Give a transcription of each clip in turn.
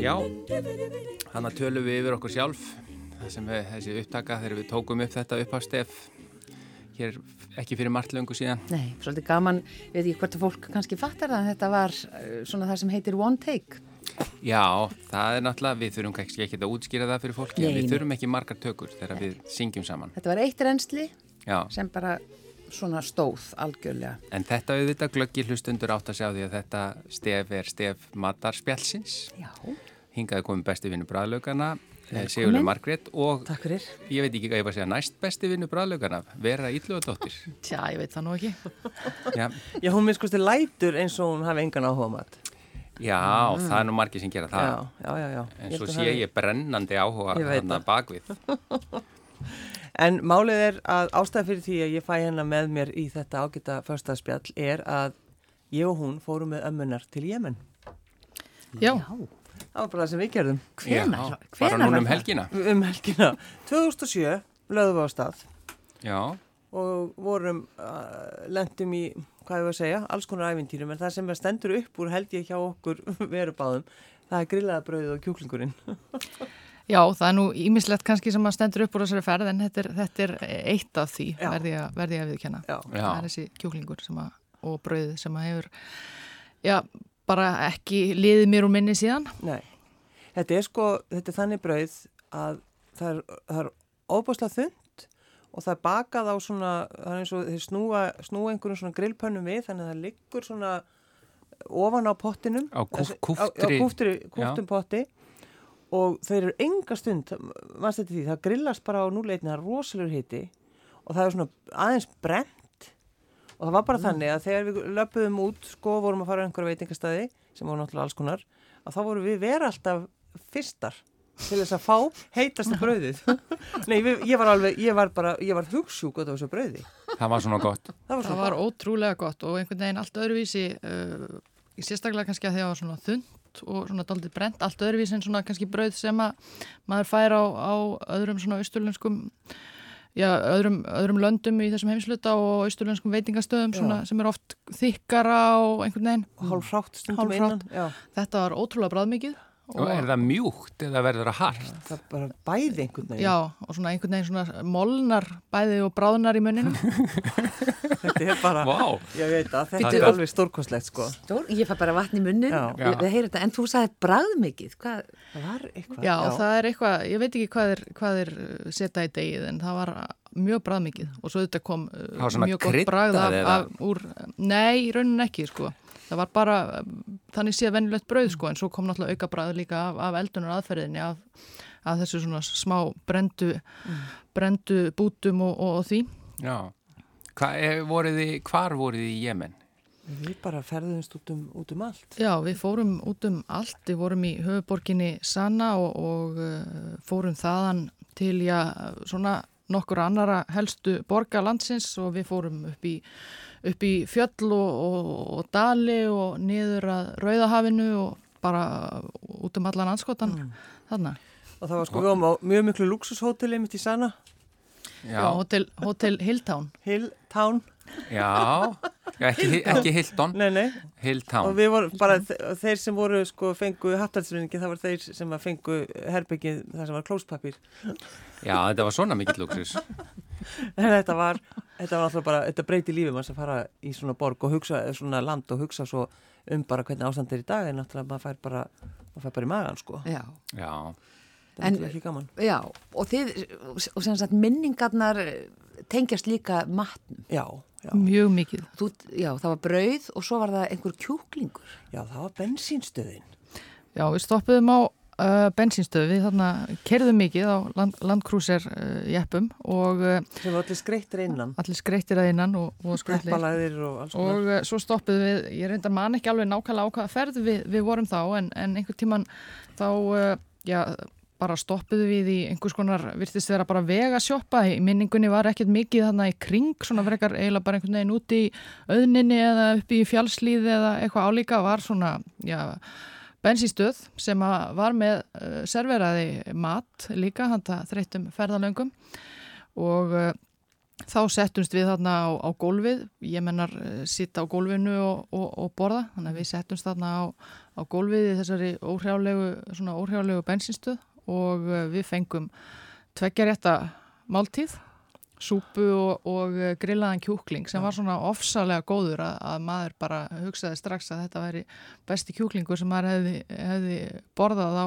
Já, þannig tölum við yfir okkur sjálf það sem við, þessi upptaka þegar við tókum upp þetta upphafstef hér ekki fyrir margt löngu síðan Nei, svolítið gaman, ég veit ekki hvort að fólk kannski fattar það en þetta var eh, svona það sem heitir one take. Já, það er náttúrulega, við þurfum kannski ekki að útskýra það fyrir fólki, Nei, en við nei. þurfum ekki margar tökur þegar við syngjum saman Þetta var eitt reynsli Já, sem bara svona stóð algjörlega. en þetta auðvitað glöggir hlustundur átt að sjá því að þetta stef er stef matarspjálsins Já, hingaði komið besti vinnu bræðlaugana Velkomin. Sigurður Margrét og takk fyrir. ég veit ekki hvað ég var að segja næst besti vinnu bræðlaugana, Vera Ílluðadóttir Tja, ég veit það nú ekki. Já, Já, hún minn skusti lætur eins og hún hafi engan áhuga á mat. já það er nú margir sem gera það Já, já, já, já. En Ég svo held að Ah. sé það- ég brennandi áhuga Ég veit hann það. að bakvið. En málið er að ástæð fyrir því að ég fæ hennar með mér í þetta ágita förstaðspjall er að ég og hún fórum með ömmunar til Jemen. Já, Það var bara það sem við gerðum Hvenar? Já, Bara núna um helgina. um helgina. 2007 löðum við á stað Já, og vorum, uh, lendum í, hvað ég var að segja, alls konar æfintýrum en það sem er stendur upp úr held ég hjá okkur verubáðum, það er grillaðabröðið og kjúklingurinn. já, það er nú ímislegt kannski sem að stendur upp úr þessari ferð en þetta er, þetta er eitt af því Já. verði að, verði að viðkjanna. Já. já. Það er þessi kjúklingur sem að, og brauð sem að hefur, já, bara ekki liðið mér úr minni síðan. Nei, þetta er sko, þetta er þannig brauð að það er, það er óbúslega þund og það er bakað á svona, það er eins og þeir snúa, snúa einhverjum svona grillpönnum við þannig að það liggur svona eh, ofan á pottinum. Á kúf- Þessi- kúftri- Á, á kúftri, kúftum potti og þeir eru enga stund, mannst þetta því, það grillast bara á núleitni, það er rosalur hiti og það er svona aðeins brent og það var Mm. bara þannig að þegar við löpuðum út sko vorum að fara á einhverja veitingastæði sem voru náttúrulega alls konar að þá vorum við vera alltaf fyrstar til þess að fá heitasta brauðið Nei, við, ég var alveg, ég var bara ég var hugsjúk út af þessu brauði það var svona gott. það var Það svo var ótrúlega gott og einhvern veginn allt öðruvísi, uh, sérstaklega kannski að því að það var svona þund og svona daldið brent, allt öðruvísi en svona kannski brauð sem að maður fær á, á öðrum svona austurlenskum, já, öðrum, öðrum löndum í þessum heimsluta og austurlenskum veitingastöðum svona sem er oft þykkara og einhvern veginn. hálf hrátt stundum innan Hálfhrátt. já, Þetta var ótrúlega bráðmikið. Og er það mjúkt eða verður það hart? það bara bæði einhvern veginn Já, og svona einhvern veginn svona molnar bæði og bráðnar í munninum. þetta er bara, Vá, ég veit að þetta Bíddu, er og- alveg stórkostlegt sko Stór, ég fæ bara vatn í munnin, Já. ég, ég heyri þetta, en þú sagði brað mikið, hvað, það var eitthvað Já, það er eitthvað, ég veit ekki hvað er, hvað er setja í degið en það var uh, mjög bræðmikið og svo þetta kom uh, var svona mjög gott kryddað bræð af, eða? af, úr, nei, í raunin ekki sko, það var bara um, þannig séð venjulegt brauð sko en svo kom náttúrulega auka bræð líka af, af eldunar aðferðinni af, af þessu svona smá brendu, Mm. brendu bútum og, og, og því já. Hva, er, voruð þið, hvar voruð þið í Jemen? við bara ferðumst út um, út um allt Já, við fórum út um allt, við fórum í höfuborginni Sanna og, og uh, fórum þaðan til já, svona nokkur annara helstu borga landsins og við fórum upp í, upp í fjöll og, og, og dali og niður að Rauðahafinu og bara út um allan anskotan þarna. og það var sko, við varum á mjög miklu luxushótel einmitt í Sana, Já, Já, Hotel, Hotel Hilltown. Hilltown já, já ekki, ekki Hilton, nei, nei, og Hilltown. við vorum bara þe- og þeir sem voru sko fengu hattalsvinningi, það var þeir sem að fengu herbyggið þar sem var klóspapir Já, þetta var svona mikill luxus. en þetta var, þetta var alltaf bara þetta breyti lífið manns að fara í svona borg og hugsa, eða svona land og hugsa svo um bara hvernig ástand er í dag en náttúrulega maður fær bara, maður fær bara í magan sko já, Já, það En- er ekki gaman já, og þið, og sem sagt minningarnar eh, tengjast líka matnum, já, já, Mjög mikið. þú, já, það var brauð og svo var það einhver kjúklingur, já, það var bensínstöðin Já, við stoppuðum á uh, bensínstöðu, við þarna kerðum mikið á land, landkrúser uh, jeppum og uh, sem var allir skreittir innan allir skreittir að innan og, og skrullir. eppalæðir og alls konar Og eh, svo stoppuðum við, ég reyndar man ekki alveg nákvæmlega á hvaða ferð við, við vorum þá en, en einhver tíman þá, eh, já, bara stoppuðu við í einhvers konar, virtist vera bara vegasjoppa, í minningunni var ekkert mikið þarna í kring, svona frekar eiginlega bara einhvern veginn út í auðninni eða upp í fjálslíði eða eitthvað álíka var svona, já, bensinstöð sem að var með uh, serveraði mat líka, handa þreytum ferðalöngum og uh, þá settumst við þarna á, á gólfið, ég mennar uh, sitta á gólfinu og, og, og borða, þannig að við settumst þarna á, á gólfið í þessari óhrjálegu, svona óhrjálegu bensinstöð og uh, við fengum tveggjarétta máltíð, súpu og, og uh, grillaðan kjúkling sem var svona ofsalega góður að, að maður bara hugsaði strax að þetta væri besti kjúklingur sem maður hefði, hefði borðað á,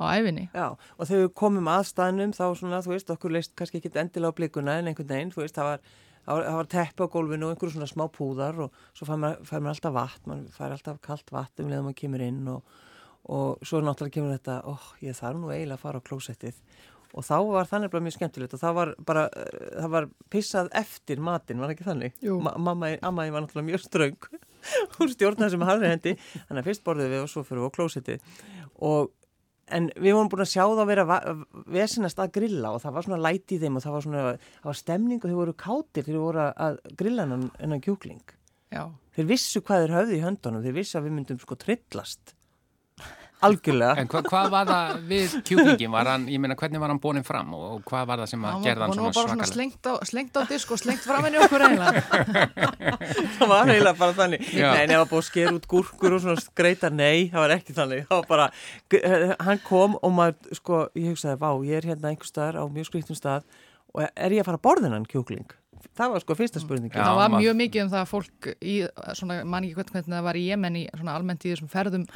á æfinni. Já, og þegar við komum að staðnum þá svona, þú veist, okkur leist kannski ekki endilega á blikuna en einhvern veginn, þú veist, það var, það var, það var teppi á gólfinu og einhverju svona smá púðar og svo fær maður, fær maður alltaf vatn, maður fær alltaf kalt vatn um leðum maður kemur inn og, og svo náttúrulega kemur þetta, óh, ég þarf nú eiginlega að fara á klósettið og þá var þannig bara mjög skemmtilegt og það var bara, eh, það var pissað eftir matinn, var ekki þannig? Jú. Ma mamma, amma ég var náttúrulega mjög ströng, hún stjórnaði sem harri hendi, þannig að fyrst borðum við og svo fyrir við á klósettið og En við vorum búin að sjá það að vera va- vesenast að grilla og það var svona læti í þeim og það var svona, það var stemning og þau voru kátir þegar þau voru að- að grilla hennan, hennan kjúkling. Já. Þeir vissu hvað þeir höfðu í höndunum, þeir vissu að við myndum sko trillast. Algjörlega. En hva, hvað var það við kjúklingin? Var hann, ég meina, hvernig var hann bónin fram og, og hvað var það sem að gerða hann var svona bara svona svakalega? slengt á, slengt á disk og slengt fram henni okkur eiginlega. það var eiginlega bara þannig. Já. Nei, en ef það var búið að skera út gúrkur og svona skreita, nei, það var ekki þannig. Það var bara, eh, hann kom og maður, sko, ég hugsaði, vá, ég er hérna einhver staðar á mjög skriftum stað og er ég að fara að borðinan kjúkling? Það var sko fyrsta spurningin. Já, það var maður- mjög mikið um það að fólk í, svona, man ekki hvernig, hvernig það var í Jemen í svona almennt í þessum ferðum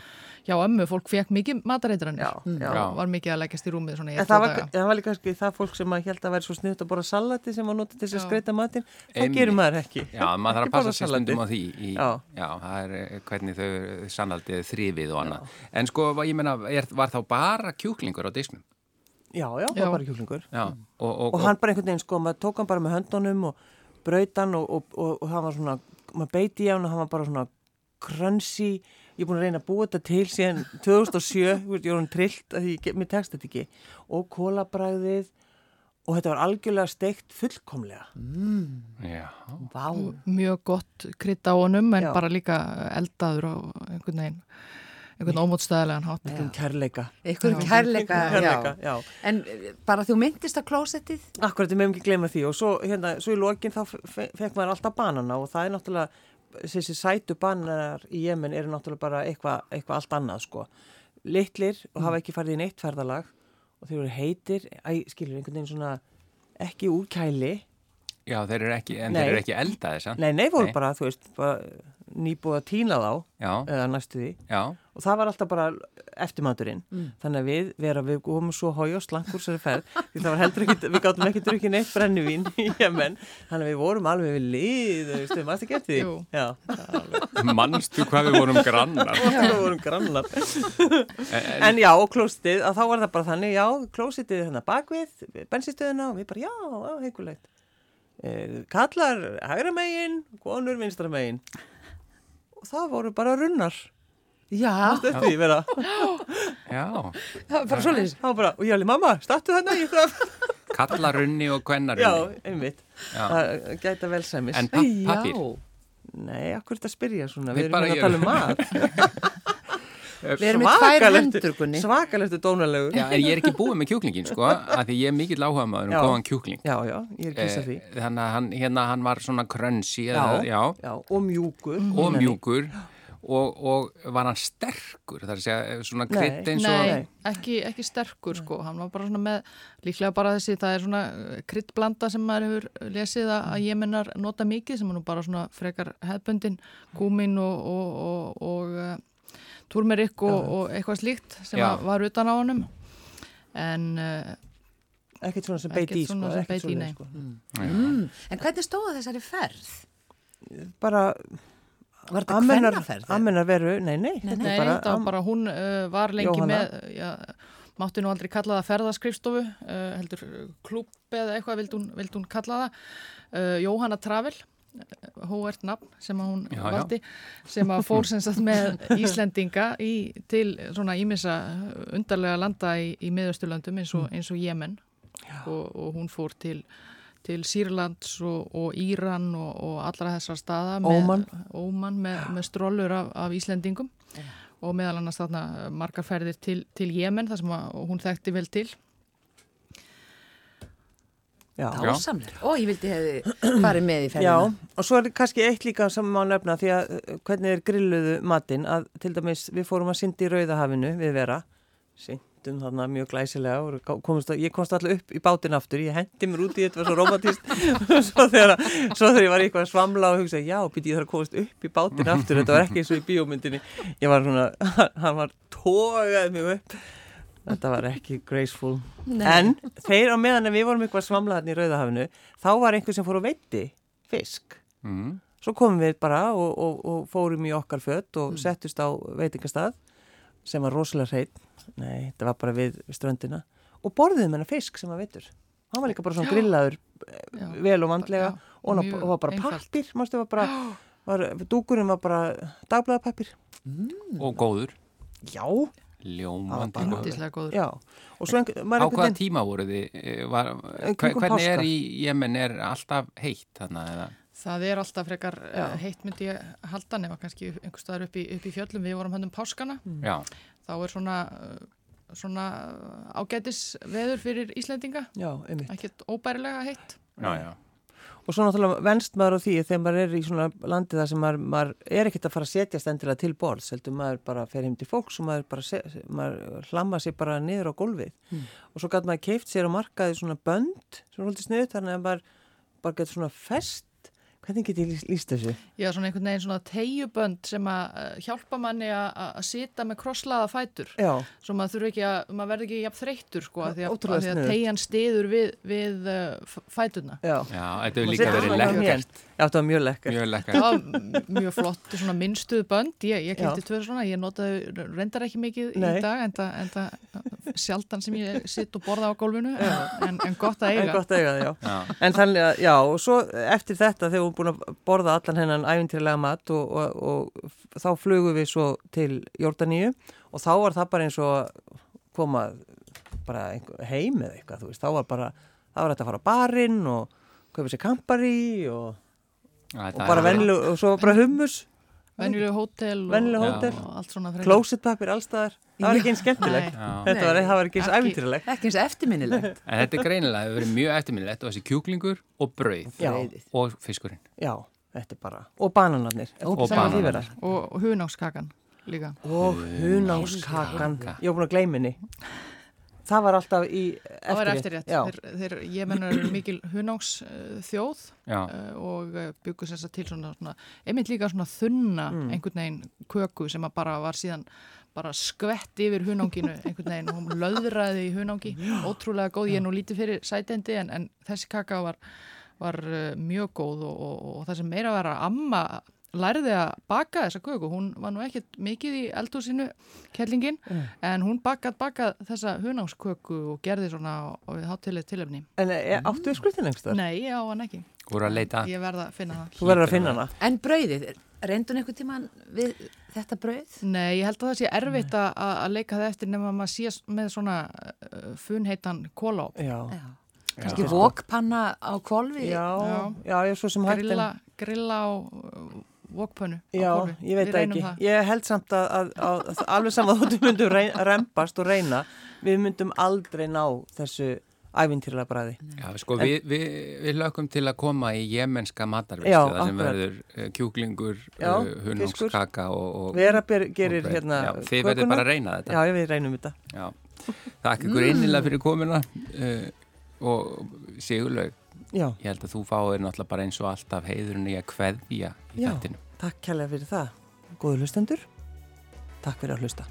hjá ömmu, fólk fekk mikið matareitranir Já, já. og var mikið að leggjast í rúmið svona í En tvo það var, daga. það var líka kannski það fólk sem að held að væri svo sniðt að borða salati sem að nota til þess að Já. skreita matinn, það Einmitt. gerir maður ekki. Já, maður þarf Ekki að passa borða sér salatið. stundum á því í, Já. já, það er eh, hvernig þau sannaldið þrifið og annað En sko, var- ég meina, er, var þá bara kjúklingur á disknum? Já, já, það Já. var bara kjúklingur. Já, og, og, Mm. Og hann bara einhvern veginn, sko, maður tók hann bara með höndunum og braut hann og, og, og, og hann var svona, maður beiti í hann og hann var bara svona krönsi, ég er búin að reyna að búa þetta til síðan 2007, þú veist, ég er hann trillt að því ég get- mér tekst þetta ekki, og kólabræðið og þetta var algjörlega steikt fullkomlega. já, Vá. mjög gott krydd á honum en Já. bara líka eldaður á einhvern veginn einhvern ómótstæðilegan hátt Um kærleika. Ykkur kærleika, Kærleika, já. já. En eh, bara þú myndist á klósettið? Akkurat, við meðum ekki gleyma því og svo, hérna, svo í lokin þá fe- fe- fekk maður alltaf banana og það er náttúrulega, þessi sætu bananar í Jemen eru náttúrulega bara eitthvað eitthva allt annað sko. Littlir og hafa ekki farið í neitt ferðalag og þeir eru heitir, æ, skilur einhvern veginn svona ekki úr kæli. já, þeir eru ekki, en Nei. þeir eru ekki eldaði, sann? Nei, nei, voru bara, þú veist, bara nýbúið að týna þá Já, eða næstu því já, og það var alltaf bara eftirmaturinn þannig að við, vera, við komum svo hói og slankur sér ferð, því það var heldur ekki við gátum ekki drukkin eitt brennivín í Jemen þannig að við vorum alveg við lið þú veist, við maður ekki eftir því Jú. Já, mannstu hvað við vorum grannar við vorum grannar En, en já, og klóstið, að þá var það bara þannig já, klóstið þannig bakvið bensinstöðuna og við bara, já, heikulægt kallar hægra megin konur vinstra megin og það voru bara runnar Já, þetta því vera já, það var bara svoleiðis. Það var bara, og ég alveg, mamma, startu þarna, ég þarf. kallarunni og Já, kvennarunni einmitt. Já. Það gæta vel sæmis. En papp, pappir Já, Nei, akkur þetta spyrja svona, Við við erum bara hérna að gerum- tala um mat. við erum með tvær hendur, Gunni. Svakalegtu dónalegu. Já, en ég er ekki búið með kjúklingin, sko, af því ég er mikill áhuga maður um Já. góðan kjúkling. Já, já, ég er kýsa því. Eh, Þannig að hann, hérna, hann var svona krönsi, Já, eða, já, og mjúkur. og mjúkur og, og var hann sterkur, það er að segja, eh, svona Nei. krydd eins og... Nei, ekki, ekki sterkur sko, hann var bara svona með, líklega bara þessi, það er svona uh, kryddblanda sem maður hefur lesið að, að ég mennar nota mikið sem er nú bara svona frekar hefböndin, kúmin og, og, og, og uh, túrmerikk og, og eitthvað slíkt sem Já. að var utan á honum. En uh, Ekkert svona sem Ekkert beiti í, sko. svona sem ekkert beit í, svoleiðis, nei. sko. Mm. En hvernig stóða þessari ferð? Bara, Var þetta amennar, kvennaferð? amennar veru, nei, nei. þetta er Nei, bara, þetta var am- bara, hún uh, var lengi Jóhanna. með, já, mátti nú aldrei kalla það ferðaskrifstofu, uh, heldur klúb eða eitthvað vildi hún, vildi hún kalla það, uh, Jóhanna Travel hóert nafn sem að hún Já, já. valdi sem að fór sem sagt með Íslendinga í, til svona ímissa undarlega landa í, í miðausturlöndum eins og, eins og Jemen og, og hún fór til, til Sýrlands og, og Íran og, og allra þessar staða Óman. með, Óman með, með strollur af, af Íslendingum og meðal annars þarna margar ferðir til, til Jemen þar sem að hún þekkti vel til Já. Dásamlega. Ó, ég vildi hefði farið með í Já, ferðina. og svo er kannski eitt líka sem má nefna því að uh, hvernig er grilluðu matinn að til dæmis við fórum að syndi í Rauðahafinu við vera, syndum þarna mjög glæsilega og gá- komumst að, ég komst allir upp í bátinn aftur, ég hendi mér út í þetta var svo romantist og svo þegar, svo þegar ég var eitthvað að svamla og hugsa já, býtti ég þarf að komast upp í bátinn aftur þetta var ekki eins og í bíómyndinni ég var svona, hann var tógað mjög upp Þetta var ekki graceful. En þeir á meðan en við vorum eitthvað svamlaðan í Rauðahafinu, þá var einhver sem fór og veiti fisk. Mm. Svo komum við bara og, og, og fórum í okkar fött og Mm. settust á veitingastað sem var rosalega hreitt. Nei, þetta var bara við ströndina. Og borðum hennar fisk sem var veitur. Hann var líka bara svona grillaður eh, Já. vel og vandlega Já, og hann mjög var- var bara einfalt. pappir, mástu, var bara, var, dúkurinn var bara dagblæðapappir. Og góður, Já, ljómandi Það var góður. yndislega góður já. Og svo Á einhver, maður einhvern hvaða veginn- tíma voru þið? eh, Var, Eh, hve- kringum hvernig er páska. í Jemen, er alltaf heitt þarna eða? Það er alltaf frekar Já. Já. heitt myndi ég halda nema kannski einhver staðar upp í, upp í fjöllum. Við vorum hann um páskana. Mm. Já, Þá er svona, uh, svona eh, ágætis veður fyrir Íslendinga. Já, einmitt. Ekkert óbærilega heitt. já, já. Og svo náttúrulega venst maður á því að þegar maður er í svona landi þar sem maður, maður er ekkert að fara að setja stendilega til borðs, heldur maður bara fer heim til fólks og maður, bara se, maður hlamma sér bara niður á gólfið. Og svo gæti maður keift sér á markaði svona bönd sem er haldið snuð þannig að maður bara getur svona fest. Hvernig get ég lýst, lýst þessu? Já, svona einhvern veginn svona teigjubönd sem að uh, hjálpa manni að- að að sita með krosslaða fætur. Já, Svo maður þurfi ekki að, maður verður ekki jafn þreyttur sko að því að, Ótrúlega að, því að sniðugt. teigjan stiður við, við uh, fæturna. já. Já, þetta hefur Maður líka setur verið svona á lekkert, hnén. Já, þetta var mjög lekkert. mjög lekkert. Það var mjög flott svona minnstuð bönd, ég, ég kemti tvö svona, ég notaði reyndar ekki mikið Nei. í dag en það, en það sjaldan sem ég sitt og borða á gólfinu en, en gott að En eiga. gott að eiga það, já. Já. En þannig að, já, og svo eftir þetta þegar við erum búin að borða allan hennan æfintýrlega mat og, og, og þá flugum við svo til Jórdaníu og þá var það bara eins og að koma bara einhver, heim eða eitthvað, þú veist, þá var bara, þá var þetta að fara á barinn og köpa sér kampari og, Já, og þetta bara hefur verið- venlu, og svo var bara hummus, Venjulegu hótel og, Venjuleg hótel. og allt svona frekar. klósitpapir allstaðar, það var Já. ekki eins skemmtilegt, Nei. Já. þetta var, Nei, það var ekki eins ekki. æfintýrlegt. Ekki eins eftirminnilegt. En þetta er greinilega, það hefur verið mjög eftirminnilegt og þessi kjúklingur og brauð Já. og fiskurinn. Já, þetta er bara, og bananarnir, Og Sem að því bananar. vera. og og hunangskakan líka. Og hunánskakan, Hunangskaka. ég var búin að gleyma henni. Það var alltaf í eftirrétt. Það var eftir rétt, Já, þeir, þeir, ég mennur mikil hunangsþjóð Já. og eh, bjuggu sér þess að til svona, svona einmitt líka svona þunna Mm. einhvern veginn köku sem að bara var síðan bara skvett yfir hunanginu einhvern veginn og hún löðraði í hunangi ótrúlega góð, ég er nú lítið fyrir sætendi en, en þessi kaka var, var eh, mjög góð og, og, og, það sem meira var að amma lærði að baka þessa köku, hún var nú ekkert mikið í eldhúsinu, kellingin Mm. en hún bakað, bakað þessa hunangsköku og gerði svona og, og við hátilið tilöfni. en e, áttu við skrutin einhverstað? Nei, ég á hann ekki. Voru að leita. Ég verða að finna það. Þú verður að finna hana. En brauðið, reyndun einhvern tíman við þetta brauð? Nei, ég held að það sé erfitt að, að leika það eftir nema að maður sé s- með svona uh, funheitan kóla á. Já, Já. Kanski vokpanna á kolvi? já, já, ég er svo sem hægt. en- Grilla, grilla á uh, vokpönnu. á Já, hvolfi. ég veit Við það reynum ekki. Það. Ég held samt að, að, að, að alveg saman þóttu myndum reyn, rempast og reyna, við myndum aldrei ná þessu ævintýrlega bræði. Já, sko, við, við, við lögum til að koma í jemenska Já, matarvistu, það sem akkurat. verður eh, kjúklingur, Já, eh, hunangskaka og, og... Vera ber, gerir og brauð. hérna Já, þið verður bara að reyna þetta. Já, við reynum þetta. Já. Takk ykkur innilega fyrir komuna uh, og Sigurlaug, Já, ég held að þú fáir náttúrulega bara eins og alltaf heiðurinn í að kveðja í já. þættinu. Takk kærlega fyrir það. Góðu hlustendur. Takk fyrir að hlusta.